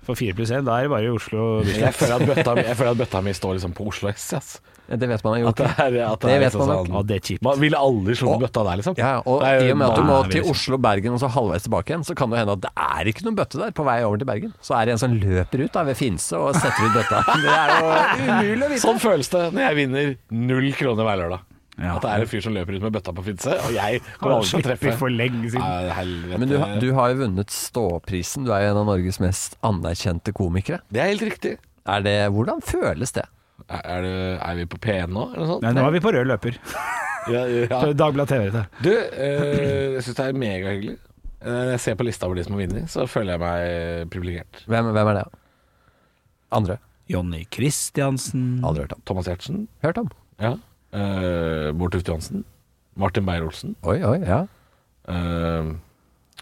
S3: For fire pluss én, da er det bare i Oslo.
S4: Jeg føler at bøtta mi, jeg føler at bøtta mi står liksom på Oslo S. Ass.
S5: det vet man har
S4: At
S5: gjort.
S4: det er, at det
S5: Det
S4: er
S5: vet
S4: liksom
S5: man
S4: sånn
S3: Ja, det er kjipt.
S4: Man ville aldri slått
S5: Og-
S4: bøtta der, liksom.
S5: Ja, og
S4: Det er jo
S5: i og med at du
S4: bare-
S5: må
S3: vanlig,
S5: til
S3: liksom.
S5: Oslo, Bergen og så halvveis tilbake igjen, så kan det hende at det er ikke noen bøtte der på vei over til Bergen. Så er det en som løper ut da ved Finse og setter ut bøtta. Det er jo umulig å vite.
S4: Sånn føles det når jeg vinner null kroner hver lørdag.
S3: Ja.
S4: At det er en fyr som løper ut med bøtta på Finse, og jeg kommer aldri til å treffe.
S3: for lenge siden.
S4: Nei, helvete.
S5: Men du, har- du har jo vunnet Ståprisen. Du er jo en av Norges mest anerkjente komikere.
S4: Det er helt riktig.
S5: Er det, hvordan føles det?
S4: Er, er, du, er vi på P1 nå, eller noe sånt?
S3: Nei, nå er vi på rød løper.
S4: Ja,
S3: [LAUGHS]
S4: ja.
S3: Dagbladet TV. Dette.
S4: Du, eh, jeg syns det er megahyggelig. Eh, Når jeg ser på lista over de som har vunnet, så føler jeg meg privilegert.
S5: Hvem, hvem er det? Andre?
S3: Jonny Christiansen.
S5: Aldri hørt om.
S4: Thomas Giertsen.
S5: Hørt om?
S4: Ja. Eh, Bård Tufte Johansen. Martin Beyer-Olsen.
S5: Oi, oi, ja.
S4: Eh,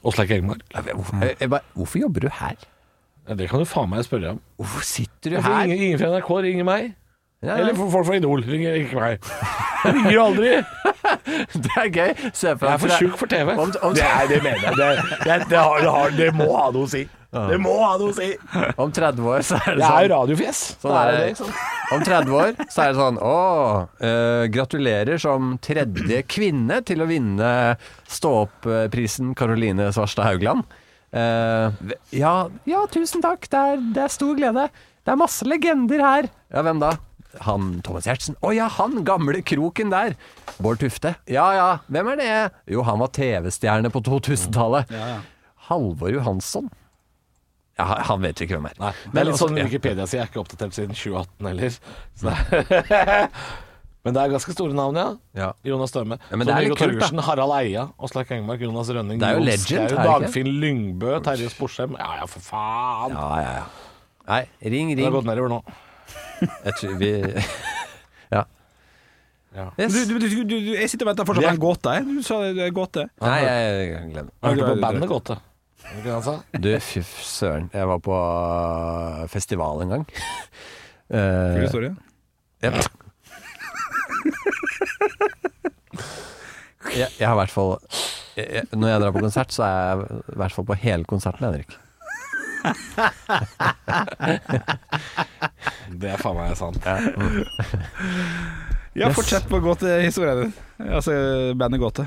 S4: Åsleik Engmark.
S5: Hvorfor, jeg, jeg, bare- Eh, hvorfor jobber du her?
S4: Det kan du faen meg spørre om.
S5: Hvorfor sitter du
S4: Hvorfor
S5: her?
S4: Altså, Ingen, ingen fra NRK ringer meg.
S5: Ja,
S4: Eller
S5: ja.
S4: for folk fra Idol ringer ikke meg. Jeg ringer jo aldri.
S5: [LAUGHS] det er gøy. Se for deg
S4: Jeg er for
S5: det-
S4: tjukk for TV.
S5: Om- om-
S4: Det, Sånn er, det mener jeg. Det, det, det, har, det, har, det må ha noe å si. Det må ha noe å si.
S5: Om 30 år så er det
S4: Det
S5: sånn.
S4: er jo radiofjes.
S5: Sånn
S4: det
S5: er
S4: er
S5: det.
S4: det, ikke sant?
S5: [LAUGHS] Om 30 år så er det sånn Å, eh, gratulerer som tredje kvinne til å vinne Stå-opp-prisen Karoline Svarstad Haugland. Eh, ja, ja, tusen takk. Det er, det er stor glede. Det er masse legender her. Ja, hvem da? Han Thomas Giertsen. Å ja, han gamle kroken der. Bård Tufte. Ja ja, hvem er det? Jo, han var TV-stjerne på 2000-tallet. Halvor Johansson. Ja, han vet vi ikke hvem er.
S4: Nei, det er litt sånn Wikipedia sier. Jeg er ikke oppdatert siden 2018 heller. Så [LAUGHS] det er- Men det er ganske store navn, ja.
S5: Ja.
S4: Jonas Støme.
S5: Ja, men det er
S4: Tom-Viggo
S5: litt kult, da.
S4: Torgersen, Harald Eia, Åslaug Engmark, Jonas Rønning.
S5: Det er jo
S4: Jon
S5: legend,
S4: Skau,
S5: er det ikke?
S4: Dagfinn Lyngbø, Terje Sporsem. Ja ja, for faen.
S5: Ja, ja, ja. Nei, ring,
S4: Det har
S5: ring. [LAUGHS]
S4: gått nedover nå.
S5: Jeg tror vi Ja.
S3: Du,
S5: Yes.
S3: du, du, du, du, jeg sitter og venter fortsatt på en gåte. her. Du sa det er gåte.
S5: Nei, jeg jeg glemmer.
S4: Jeg hørte
S3: Ja,
S4: på
S3: det-
S4: bandet godt, da. Var det ikke det han sa?
S5: Du, fy f- søren. Jeg var på øh, festival en gang. [LAUGHS] Eh,
S3: Full historie.
S5: ja. jeg, jeg har i hvert fall jeg, jeg, Når jeg drar på konsert, så er jeg i hvert fall på hele konserten, Henrik.
S4: Det er faen meg sant.
S3: Ja,
S5: Yes.
S3: fortsett på gåtehistorien din. Altså bandet Gåte.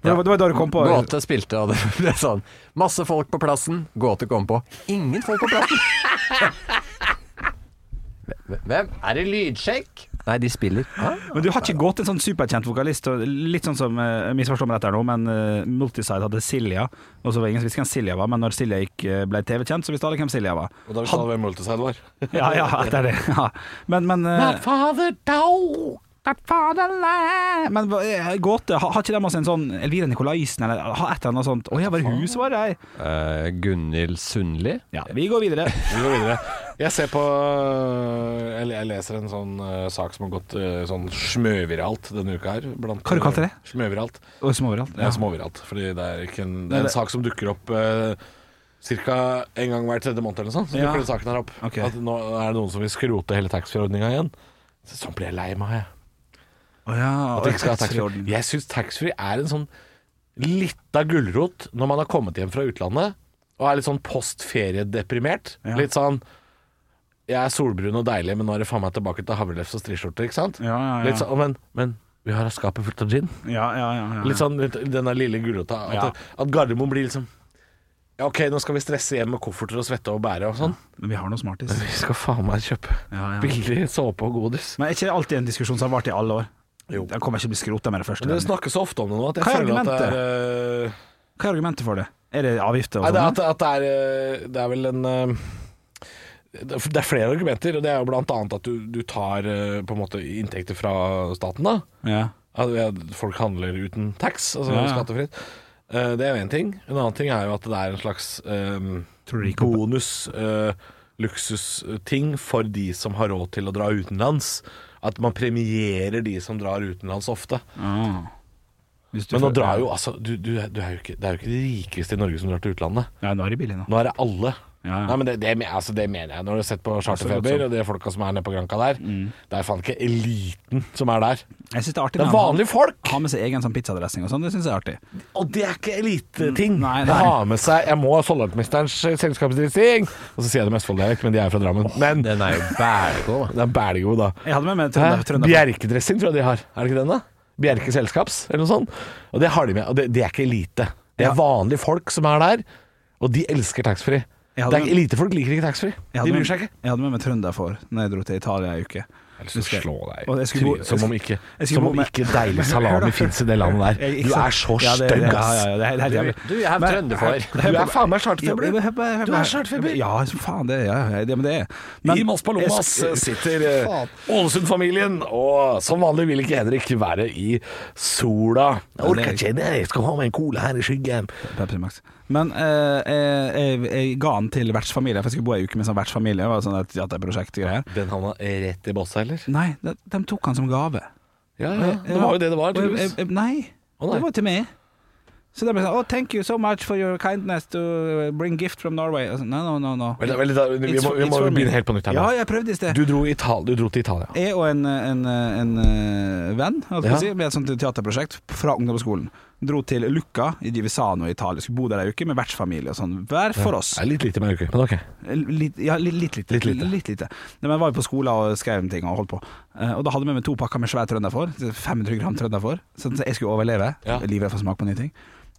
S3: For
S5: Ja.
S3: Det var- det var da du kom på
S5: Gåte spilte, og det [LAUGHS] ble sånn Masse folk på plassen, Gåte kom på Ingen folk på [LAUGHS] plassen! Hvem- Hvem? Er det lydsjekk? Nei, de spiller. Hæ?
S3: Men du har ikke gått en sånn superkjent vokalist, og litt sånn som eh, misforstå meg rett her nå, men eh, Multiside hadde Silja, og så var det ingen som visste hvem Silja var, men når Silja gikk, eh, ble TV-kjent, så visste alle hvem Silja var.
S4: Og da visste han hvem Multiside var.
S3: Ja,
S4: [LAUGHS]
S3: ja, det er det. Ja. Men, men eh,
S4: Father Dow!
S3: Men hva- eh, gåte, har, har ikke de også en sånn Elvira Nikolaisen, eller har et eller annet sånt? Å ja, var det hun som var der?
S5: Eh, Gunhild Sundli.
S3: Ja, vi går videre.
S4: Vi går videre. Jeg ser på Eller jeg leser en sånn eh, sak som har gått eh, sånn smøviralt denne uka her. Blant, eh,
S3: Hva har du kalt det?
S4: Smøviralt.
S3: Og som overalt.
S4: Det
S3: Ja.
S4: er som overalt. Fordi det er, ikke en, det
S3: Men
S4: er
S3: det-
S4: en sak som dukker opp uh, ca. en gang hver tredje måned eller sånn. Så
S3: Ja.
S4: dukker den saken her opp.
S3: Ok.
S4: At nå er det noen som vil skrote hele taxfree-ordninga igjen. Så Sånn blir jeg lei meg, jeg.
S3: Å ja,
S4: At
S3: og
S4: de ikke skal ha taxfree.
S3: taxfree-orden.
S4: Jeg syns taxfree er en sånn lita gulrot når man har kommet hjem fra utlandet og er litt sånn postferiedeprimert.
S3: Ja.
S4: Litt sånn Jeg er solbrun og deilig, men nå er det faen meg tilbake til havrelefse og striskjorte, ikke sant?
S3: Ja, ja, ja.
S4: Litt sånn, men, men vi har skapet fullt av gin.
S3: Ja, ja, ja, ja.
S4: Litt sånn litt, denne lille gulrota. At,
S3: Ja.
S4: at Gardermoen blir liksom ja, OK, nå skal vi stresse hjem med kofferter og svette og bære og sånn.
S3: Men vi har noe smartis.
S4: Vi skal faen meg kjøpe
S3: Ja, ja.
S4: billig såpe og godis.
S3: Men er ikke det alltid en diskusjon som har vart i alle år?
S4: Jo.
S3: Den kommer ikke til å bli skrota med det første.
S4: Men Dere snakker så ofte om det nå at jeg
S3: Hva er
S4: føler at det er eh,
S3: Hva er argumentet for det? Er det avgifter og
S4: Nei, det, er
S3: sånn?
S4: at, at det, er, eh, det er vel en eh, Det er- det er flere argumenter, og det er jo blant annet at du, du tar eh, på en måte inntekter fra staten. da
S3: Ja.
S4: At eh, folk handler uten tax, altså
S3: Ja, ja.
S4: skattefritt. Eh, Det er jo én ting. En annen ting er jo at det er en slags eh,
S3: Tror du de kommer-
S4: bonus, eh, luksusting for de som har råd til å dra utenlands. At man premierer de som drar utenlands ofte.
S3: Ah. Hvis du
S4: Men nå
S3: får-
S4: drar jo altså du, du, er- du er jo ikke, Det er jo ikke de rikeste i Norge som drar til utlandet.
S3: Ja, nå er det billig nå.
S4: Nå er det alle.
S3: Ja, ja.
S4: Nei, men det, det, altså, det mener jeg. Når du har sett på Charterfeber og de folka som er nede på Granca der, det er faen ikke eliten som er der.
S3: Jeg synes det er artig
S4: Det er
S3: når han-
S4: vanlige folk!
S3: Ha med seg egen sånn pizzadressing og sånn, det syns jeg er artig.
S4: Og det er ikke eliteting.
S3: Mm, nei,
S4: Jeg
S3: nei.
S4: har med seg Jeg må ha Sollentmesterens eh, selskapsdressing! Og så sier jeg det med Østfold-dialekt, men de er jo fra Drammen. Men
S5: Den er jo bælgod, da.
S4: det er bælgod, da.
S3: Jeg hadde med meg
S4: Hæ?
S3: trønder. trønder.
S4: Bjerkedressing tror jeg de har. Er det ikke den, da? Bjerke Selskaps, eller noe sånt. Og det har de med. Og det, det er ikke elite. Det er
S3: Ja.
S4: vanlige folk som er der, og de elsker taxfree.
S3: Jeg hadde
S4: Det er-
S3: med-
S4: Elitefolk liker ikke taxfree.
S3: Jeg
S4: De
S3: hadde
S4: bryr
S3: med-
S4: seg ikke.
S3: Jeg hadde med meg trønder for når jeg dro til Italia ei uke.
S4: Jeg har lyst til å slå
S3: Og
S4: deg i
S3: jeg skulle bo-
S4: trynet, som om ikke,
S3: jeg skulle
S4: som
S3: bo
S4: om
S3: med-
S4: ikke deilig
S3: [LAUGHS] Hør da.
S4: salami fins i det landet der.
S3: Jeg- ikke
S4: Du
S3: sant?
S4: er så
S3: Ja, det-
S4: stygg,
S3: Ja,
S4: ass.
S3: ja, ja, det er helt jævlig.
S5: Du, jeg er
S3: Men-
S5: trønderfar.
S4: Du er faen meg charterfeber,
S3: Jo,
S4: du.
S3: men hør på- hør på-
S4: Du er charterfeber.
S3: Ja, som faen, det ja, ja, det- men det er
S4: I Mas Palomas
S3: jeg sk-
S4: sitter eh, Ålesund-familien, og som vanlig vil ikke Henrik være i sola. Jeg orker ikke, det. jeg skal ha meg en cola her i skyggen.
S3: Pepsi Max. Men eh, eh, jeg, jeg ga den til vertsfamilie, for jeg skulle bo ei uke med sånn vertsfamilie. Det var Sånn et, ja, det er prosjektgreier.
S4: Den havna rett i bosset, eller?
S3: Nei, de, de tok han som gave.
S4: Ja, ja. Det var jo det det var,
S3: Ah, Og jeg- jeg-
S4: tydeligvis.
S3: jeg- Nei,
S4: Å, nei.
S3: det var til meg. Så de ble sånn Oh, thank you so much for your kindness to bring gift from Norway. Og så, no, no, no, no.
S4: Vent, vent litt, da. Vi
S3: It's
S4: må,
S3: for-
S4: vi
S3: it's
S4: må
S3: for me.
S4: begynne helt på nytt her
S3: Ja,
S4: nå.
S3: jeg prøvde i sted.
S4: Du dro, Ital du dro til Italia.
S3: Jeg og en, en, en, eh, venn holdt jeg på å
S4: Ja.
S3: si, med et sånt teaterprosjekt fra ungdomsskolen dro til Lucca i Divisano i Italia. Skulle bo der ei uke med vertsfamilie og sånn. Hver for oss.
S4: Det er litt lite med uke, men ok.
S3: Litt, ja, litt, litt, lite.
S4: Litt lite.
S3: Litt lite. Nei, Men jeg var jo på skolen og skrev ting og holdt på. Eh, Og da hadde vi med to pakker med svær trønderfår. 500 gram trønderfår. Sånn at jeg skulle overleve.
S4: Ja.
S3: Livet får smake på nye ting.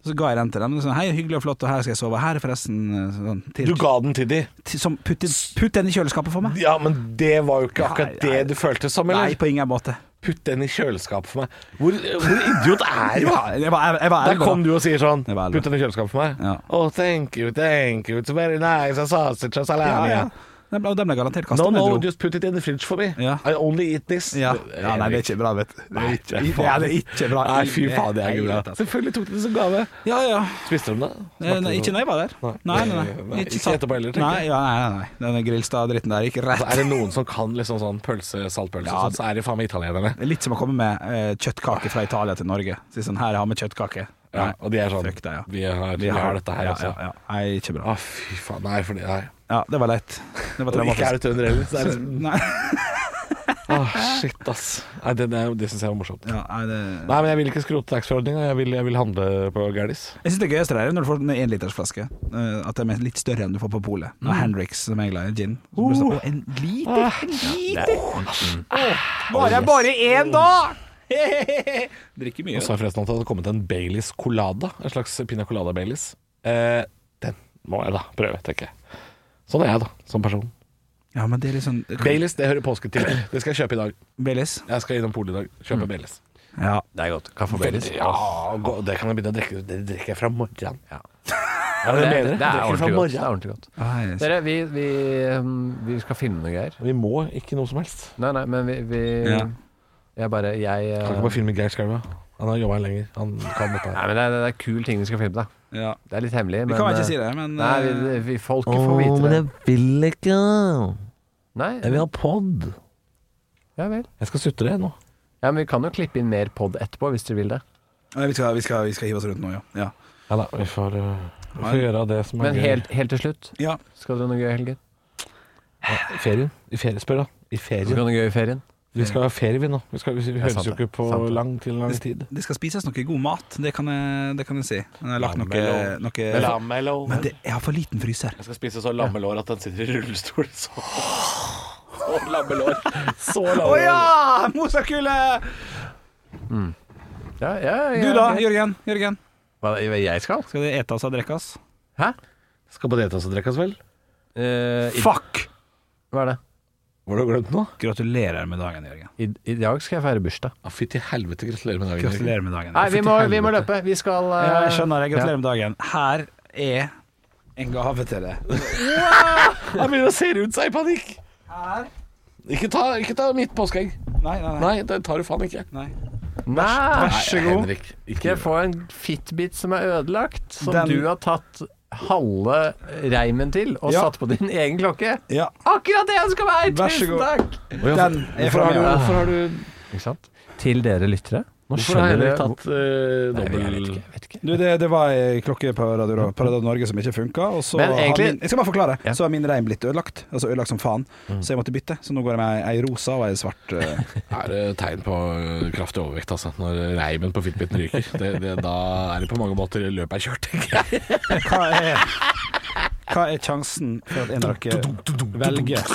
S3: Så ga jeg den til dem. og Sånn, Hei, hyggelig og flott, og her skal jeg sove. Her er forresten eh, sånn, til,
S4: Du ga den til de.
S3: til, Som putt, i- putt den i kjøleskapet for meg.
S4: Ja, men det var jo ikke akkurat
S3: Nei, nei.
S4: det du følte som, eller?
S3: Nei, på ingen måte.
S4: Putt den i kjøleskapet for meg. Hvor, hvor idiot er du?
S3: Ja, jeg var, jeg var
S4: Der
S3: ærlig, da.
S4: kom du og sier sånn
S3: Det var ærlig.
S4: Putt den i kjøleskapet for meg.
S3: Ja.
S4: Oh, thank you, thank you. It's very nice. A sausage and salami.
S3: Ja, ja. De ble, de ble garantert kasta
S4: No,
S3: ned,
S4: no,
S3: tro.
S4: just put it in the fridge for me.
S3: Ja.
S4: I only eat this.
S3: ja. ja, nei, det er ikke bra, vet du. Det er ikke,
S4: Eh, Nei, faen.
S3: ja, det er ikke bra.
S4: Nei, fy faen, det er ikke bra.
S3: Altså.
S4: Selvfølgelig tok de det som gave.
S3: Ja, ja.
S4: Spiste de det?
S3: Eh, Nei, ikke når jeg var der.
S4: Nei.
S3: Nei, nei, nei.
S4: Ikke
S3: sant.
S4: etterpå heller, tenker
S3: Nei,
S4: jeg.
S3: ja, nei, nei, nei. Denne Grillstad-dritten der gikk rett.
S4: Altså, er det noen som kan liksom sånn pølse, saltpølse,
S3: Ja,
S4: sånn, så er det faen meg italienerne.
S3: Det er Litt som å komme med eh, kjøttkake fra Italia til Norge. Si sånn, her jeg har med kjøttkake.
S4: Ja, og de er sånn
S3: Fuck deg, ja.
S4: vi, har, vi har dette her
S3: ja,
S4: også.
S3: Ja, ja. Nei, ikke bra.
S4: Å, fy faen. Nei, for det Nei.
S3: Ja, det var leit. Det var
S4: Og ikke er
S3: traumatisk.
S4: det trønder heller. så er det-
S3: [LAUGHS] Nei,
S4: Å, shit, ass. Nei, det det, det syns jeg var morsomt.
S3: ja, nei, det...
S4: Nei, men jeg vil ikke skrote taxfree-ordninga. Jeg, vil- jeg vil handle på Gerdis.
S3: Jeg syns det gøyeste der er når du får en enlitersflaske. eh, At de er litt større enn du får på polet. Når Hendrix, som jeg er glad i, gin. Så blir det sånn, «Å, en liter? En liter? Åh, Var jeg bare én da? Drikker mye.
S4: Og så har forresten at det hadde kommet en Baileys colada. En slags piña colada Baileys. Eh, den må jeg da prøve, tenker jeg. Sånn er jeg, da, som person.
S3: Ja, men det er litt sånn
S4: Baileys, det hører påske til. Det skal jeg kjøpe i dag.
S3: Baileys.
S4: Jeg skal innom polet i dag. Kjøpe Baileys.
S3: Ja.
S5: Det er godt. Kaffe og Baileys.
S4: Mm. Ja, Ah, gå- det kan jeg begynne å drikke. Det drikker jeg fra morgenen.
S5: Ja.
S4: Ja,
S5: Det,
S4: det,
S5: det,
S4: mener jeg.
S5: det, er
S4: Drikker fra
S5: ordentlig godt. det er
S4: morgenen.
S5: ordentlig godt.
S3: Nei,
S5: Dere, vi, vi, um, vi skal filme noe greier.
S4: Vi må ikke noe som helst.
S5: Nei, nei, men vi, vi
S3: Ja.
S5: Jeg bare Jeg eh,
S4: Kan ikke bare filme Geir Skaua. Han har jobba her lenger. Han kan dette
S5: Nei,
S4: her.
S5: men det er, det er kul ting vi skal filme, da.
S3: ja.
S5: Det er litt hemmelig.
S3: Vi
S5: men,
S3: kan vel
S5: eh,
S3: ikke si det, men
S5: Nei, vi,
S3: eh,
S5: vi, folket får vite det.
S4: vil ikke.
S5: Nei,
S4: vil ha pod.
S5: ja vel.
S4: Jeg skal sutre nå.
S5: Ja, men vi kan jo klippe inn mer pod etterpå, hvis dere vil det.
S3: nei, vi, skal, vi, skal, vi skal hive oss rundt nå, ja. Ja.
S4: Ja da, vi får, øh, vi får gjøre det som er
S5: Men helt, helt til slutt,
S3: ja.
S5: skal dere ha noe gøy i helgen?
S4: I ferien. I ferie, spør da. I
S5: Skal
S4: ferien.
S5: dere ha noe gøy i ferien?
S4: Vi skal ha ferie, vi nå. Vi, skal, vi, vi
S5: er sant
S4: høres jo ikke
S5: det.
S4: på
S5: Sant det.
S4: lang til lang tid.
S3: Det skal spises noe god mat, det kan jeg, det kan jeg si. Men jeg har lagt noe,
S4: Lammelår.
S3: noe Men det, jeg har for liten fryser.
S4: Jeg skal spise så lammelår at den sitter i rullestol. Så, lammelår. Så
S3: Å
S4: lammelår.
S3: ja! Mosakule!
S5: Ja, ja, ja,
S3: Du da,
S5: ok.
S3: Jørgen. Jørgen.
S5: Hva hva jeg skal?
S3: Skal det etas og drekkas?
S5: Hæ?
S4: Skal både etes og drikkes, vel?
S5: Eh, i,
S3: Fuck!
S5: hva er det?
S4: Var det glemt noe?
S3: Gratulerer med dagen, Jørgen.
S5: I, I dag skal jeg feire bursdag.
S4: Ja, Fy til helvete, gratulerer med dagen. Jørgen.
S3: Gratulerer med dagen.
S5: Nei, vi
S4: til
S5: må, vi må
S4: helvete.
S5: løpe. Vi skal eh,
S3: Ja, jeg skjønner det. Gratulerer med dagen. Her er en gave til deg.
S4: Han begynner å se rundt seg i panikk. Ikke ta, ikke ta mitt påskeegg.
S3: Nei, nei, nei.
S4: Nei, det tar du faen ikke.
S3: nei.
S5: Nei!
S3: Vær så god.
S4: Henrik,
S5: Skal
S4: ikke
S5: jeg få en Fitbit som er ødelagt, som
S3: Den-
S5: du har tatt halve reimen til og
S3: Ja.
S5: satt på din egen klokke?
S3: Ja.
S5: Akkurat det jeg ønsker meg!
S3: Vær så
S5: Tusen
S3: god.
S5: takk!
S3: Den er
S4: Hvorfor
S3: fra
S4: har du,
S3: meg.
S4: hvorfor har du
S5: Ikke sant? Til dere lyttere. Nå
S4: Hvorfor har
S5: skjønner
S4: Henrik
S5: dere
S4: tatt eh,
S5: Nei, jeg vet
S4: dobbel
S5: ikke. Jeg vet ikke.
S3: Du, det, det var ei klokke på Radio, Ro- på Radio Norge som ikke funka. Og så
S5: Men egentlig-
S3: har min, jeg skal bare forklare.
S5: Ja. Mm.
S3: Så har min rein blitt ødelagt. Altså ødelagt som faen. Så jeg måtte bytte. Så nå går jeg med ei rosa og ei svart. eh,
S5: [LAUGHS]
S4: Er det tegn på eh, kraftig overvekt, altså? Når reimen på fitbiten ryker. Det, det, da er det på mange måter løpet er kjørt,
S3: [LAUGHS]
S4: tenker jeg.
S3: Hva er, hva er sjansen for at en av dere velger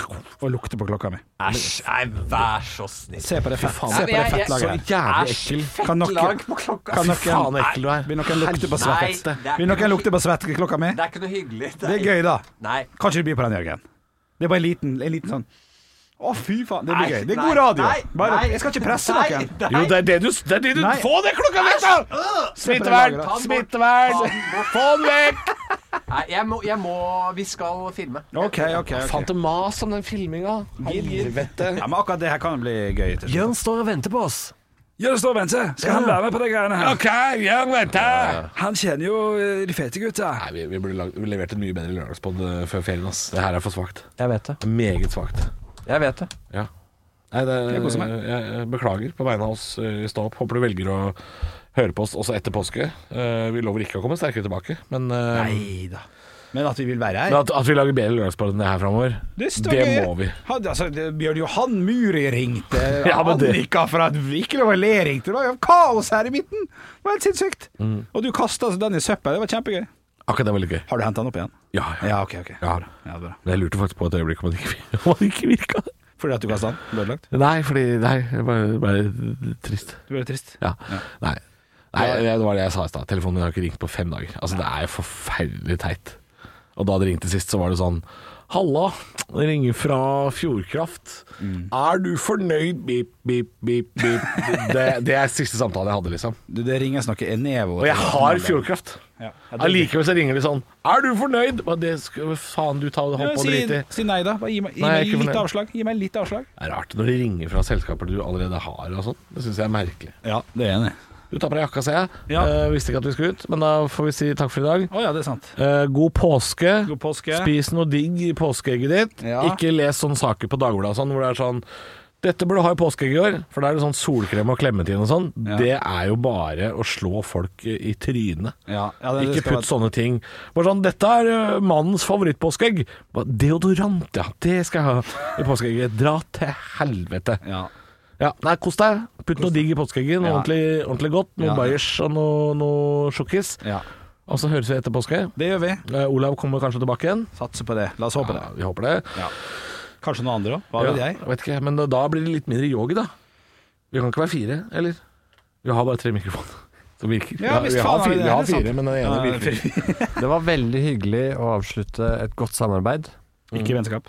S3: å lukte på klokka mi?
S5: Æsj, nei, vær så snill.
S3: Se på det, fett, se på
S5: Nei,
S3: det
S5: men jeg- jeg-
S3: fettlaget her.
S4: jævlig
S5: Æsj,
S3: Kan
S5: fett
S3: dere-
S5: lag på klokka.
S3: Kan
S5: Fy
S3: dere-
S5: faen,
S4: ekkel du er.
S3: Vil noen lukte på
S5: Nei,
S3: svett?
S5: det er
S3: Vil
S5: ikke
S3: noen
S5: noe-
S3: lukte på svettklokka mi?
S5: Det er ikke noe hyggelig.
S3: Det er gøy, da.
S5: Nei.
S3: Kan ikke du by på den, Jørgen? Det er bare en liten, en liten sånn Å, fy faen. Det blir
S5: Nei,
S3: gøy. Det er god
S5: nei,
S3: radio.
S5: nei,
S3: Bare,
S5: nei,
S3: jeg skal ikke presse
S5: nei,
S3: noen.
S5: nei.
S4: Jo, det er det du, det er det du
S3: Nei.
S4: Få det klokka vekk, da!
S3: på det
S4: Smittevern!
S3: laget, da.
S4: Smittevern! Få den vekk!
S5: Nei, jeg må, jeg må Vi skal filme.
S3: OK, OK. ok
S4: Fant det mas om den filminga. Helvete.
S3: Ja, men akkurat det her kan bli gøy. til slutt.
S5: står og venter på oss.
S3: Gjør det stå, Bente. Skal han være med på de greiene her?
S4: Jørn, vent her!
S3: Han kjenner jo eh, de fete gutta.
S4: Nei, vi, vi burde lag, vi levert et mye bedre lørdagspod eh, før ferien. ass Det her er for svakt.
S5: Jeg vet det.
S4: Meget svakt.
S5: Jeg vet det.
S4: Ja. Nei, det,
S3: Jeg koser meg.
S4: jeg, jeg beklager på vegne av oss eh, i Stå opp. Håper du velger å høre på oss også etter påske. Eh, vi lover ikke å komme sterkere tilbake, men, eh,
S3: Nei da. Men at vi vil være her
S4: men at, at vi lager bedre lørdagspod enn det her framover, det,
S3: står gøy.
S4: må vi.
S3: Han, altså, det, Bjørn Johan Muri ringte,
S4: [LAUGHS] Ja, men det-
S3: Annika fra Ikke lov å le ringte. Det var jo kaos her i midten! Det var helt sinnssykt.
S4: Mm.
S3: Og du kasta den i søpla. Det var kjempegøy.
S4: Akkurat det var litt gøy.
S3: Har du henta den opp igjen?
S4: Ja, ja.
S3: Ja, ok. ok
S4: Ja.
S3: Bra. ja bra.
S4: Men jeg lurte faktisk på et øyeblikk om det ikke, [LAUGHS] om det ikke virka.
S3: Fordi at du kasta den? Ble ødelagt?
S4: Nei, fordi Nei, det var bare trist.
S3: Du ble trist.
S4: Ja. Nei. Nei, det var det jeg sa i stad. Telefonen min har ikke ringt på fem dager. Altså, det er jo forferdelig teit. Og da det ringte sist, så var det sånn Halla, det ringer fra Fjordkraft.
S3: Mm.
S4: Er du fornøyd? Bip, bip, bip, bip. Det, det er siste samtale jeg hadde, liksom.
S3: Du, det ringes noe Enevo.
S4: Og jeg har Fjordkraft.
S3: Ja.
S4: Allikevel så ringer de sånn Er du fornøyd? Hva det skal faen du ta
S3: Ja,
S4: hånd på
S3: si,
S4: og drite i?
S3: si nei, da. Bare gi meg, gi
S4: Nei, jeg er
S3: meg
S4: ikke
S3: litt
S4: fornøyd.
S3: avslag. Gi meg litt avslag.
S4: Det er rart når de ringer fra selskaper du allerede har og sånn. Det syns jeg er merkelig.
S3: Ja, det er enig.
S4: Du tar på deg jakka, ser jeg.
S3: Ja.
S4: Eh, visste ikke at vi skulle ut, men da får vi si takk for i dag.
S3: Å ja, det er sant.
S4: Eh, god påske.
S3: God påske.
S4: Spis noe digg i påskeegget ditt.
S3: Ja.
S4: Ikke les sånne saker på Dagbladet og sånn hvor det er sånn dette burde du ha i påskeegg i år, for da er det sånn solkrem og klementin og sånn.
S3: Ja.
S4: Det er jo bare å slå folk i trynet.
S3: Ja, ja, det- det
S4: ikke
S3: skal
S4: putt sånne ting. Bare sånn, dette er ø, mannens favorittpåskeegg. Hva, Deodorant, ja. Det skal jeg ha i påskeegget. Dra til helvete.
S3: Ja.
S4: Ja, nei, kos deg. Putt noe digg i påskeegget. Noe
S3: Ja.
S4: ordentlig, ordentlig godt. Noe
S3: Ja.
S4: bayers og noe, noe sjokkis.
S3: ja.
S4: Og så høres vi etter påske.
S3: Det gjør vi.
S4: Eh, Olav kommer kanskje tilbake igjen.
S3: Satser på det. La oss håpe det.
S4: Ja, vi håper det.
S3: Kanskje noen andre òg. Hva vet
S4: Ja,
S3: jeg?
S4: vet ikke, men da blir det litt mindre yogi, da. Vi kan ikke være fire, eller? Vi har bare tre mikrofoner [LAUGHS] som virker.
S3: Ja, visst
S4: vi
S3: faen
S4: har
S3: har vi
S4: fire,
S3: det,
S4: vi har
S3: det er sant.
S4: fire men den ene virker ikke.
S5: Det var veldig hyggelig å avslutte et godt samarbeid
S3: Ikke vennskap.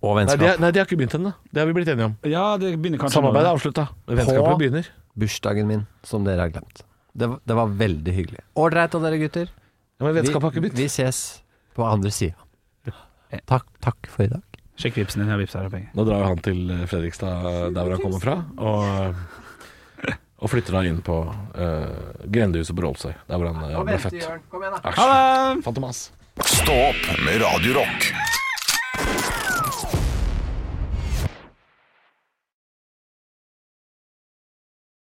S5: og
S4: Nei, de,
S5: vennskap.
S4: har- nei, de har ikke begynt ennå. Det har vi blitt enige om.
S3: Ja, det begynner kanskje
S4: Samarbeidet er
S3: nå.
S4: avslutta. Vennskapet
S5: På-
S4: begynner.
S5: Bursdagen min, som dere har glemt. Det, var- det var veldig hyggelig. Ålreit av dere, gutter.
S4: Ja, men
S5: Vi,
S4: vennskapet har ikke begynt.
S5: vi ses på andre sida. Takk, takk for i dag.
S3: Sjekk vipsen din. Jeg vipser deg penger.
S4: Nå drar jo han til eh, Fredrikstad, der hvor han kommer fra, og, eh, og flytter da inn på eh, grendehuset på Rålsøy, der hvor han eh, ble født.
S5: Kom igjen, da.
S4: Æsj.
S3: Ha det!
S4: Fantomas.
S1: Stå opp med Radio Rock.